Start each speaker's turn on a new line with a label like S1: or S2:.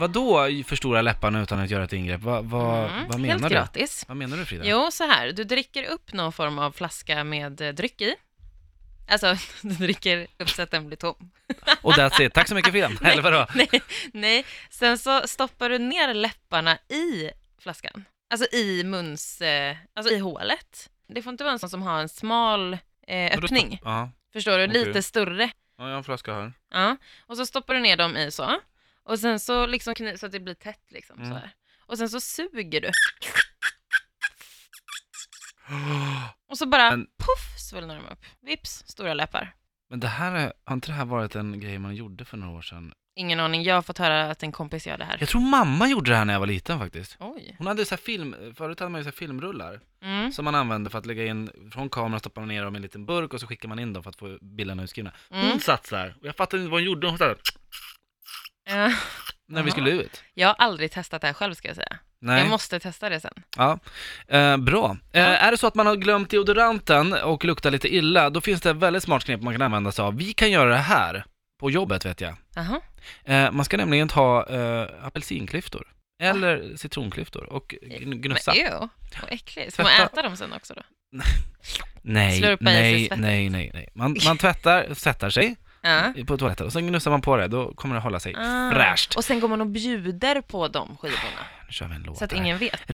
S1: Vad då förstora läpparna utan att göra ett ingrepp? Va, va,
S2: Mm,
S1: vad menar
S2: Helt
S1: du?
S2: gratis.
S1: Vad menar du Frida?
S2: Jo, så här. Du dricker upp någon form av flaska med eh, dryck i. Alltså, du dricker upp så att den blir tom.
S1: Och that's it. Tack så mycket Frida. Eller vadå?
S2: Nej, nej. Sen så stoppar du ner läpparna i flaskan. Alltså i muns... Eh, alltså i hålet. Det får inte vara en sån som har en smal eh, öppning.
S1: Ja.
S2: Förstår du?
S1: Okej.
S2: Lite större.
S1: ja, jag har en flaska här.
S2: Ja. Och så stoppar du ner dem i så. Och sen så liksom kny- så att det blir tätt liksom
S1: Mm.
S2: så här. Och sen så suger du. Och så bara
S1: Men-
S2: poff svullnar de upp. Vips, stora läppar.
S1: Men det här, är- har inte det här varit en grej man gjorde för några år sedan?
S2: Ingen aning, jag har fått höra att en kompis gör det här.
S1: Jag tror mamma gjorde det här när jag var liten faktiskt.
S2: Oj.
S1: Hon hade så här film, förut hade man ju så här filmrullar
S2: Mm.
S1: som man använde för att lägga in, från kameran stoppar man ner dem i en liten burk och så skickar man in dem för att få bilderna utskrivna. Hon
S2: Mm.
S1: satt så här, och jag fattade inte vad hon gjorde, hon satt här,
S2: Ja.
S1: när vi
S2: Jaha.
S1: skulle ut.
S2: Jag har aldrig testat det här själv ska jag säga.
S1: Nej,
S2: Jag måste testa det sen.
S1: ja. eh, bra. Eh, är det så att man har glömt deodoranten och luktar lite illa, då finns det ett väldigt smart knep man kan använda sig av. Vi kan göra det här, på jobbet vet jag.
S2: Jaha.
S1: Eh, man ska nämligen ta eh, apelsinklyftor, eller citronklyftor, och gn- gnussa.
S2: Ah. Eh, Men ew, vad äckligt. Får man
S1: Tvätta-
S2: äta dem sen också då?
S1: Nej,
S2: Slurpa i sig
S1: nej,
S2: svett.
S1: nej, nej, nej. Man, man tvättar, tvättar sig
S2: Ja.
S1: på toaletten och sen gnussar man på det, då kommer det hålla sig
S2: Ah.
S1: fräscht.
S2: Och sen går man och bjuder på de skivorna,
S1: Nu kör vi en låt
S2: så att
S1: här.
S2: ingen vet.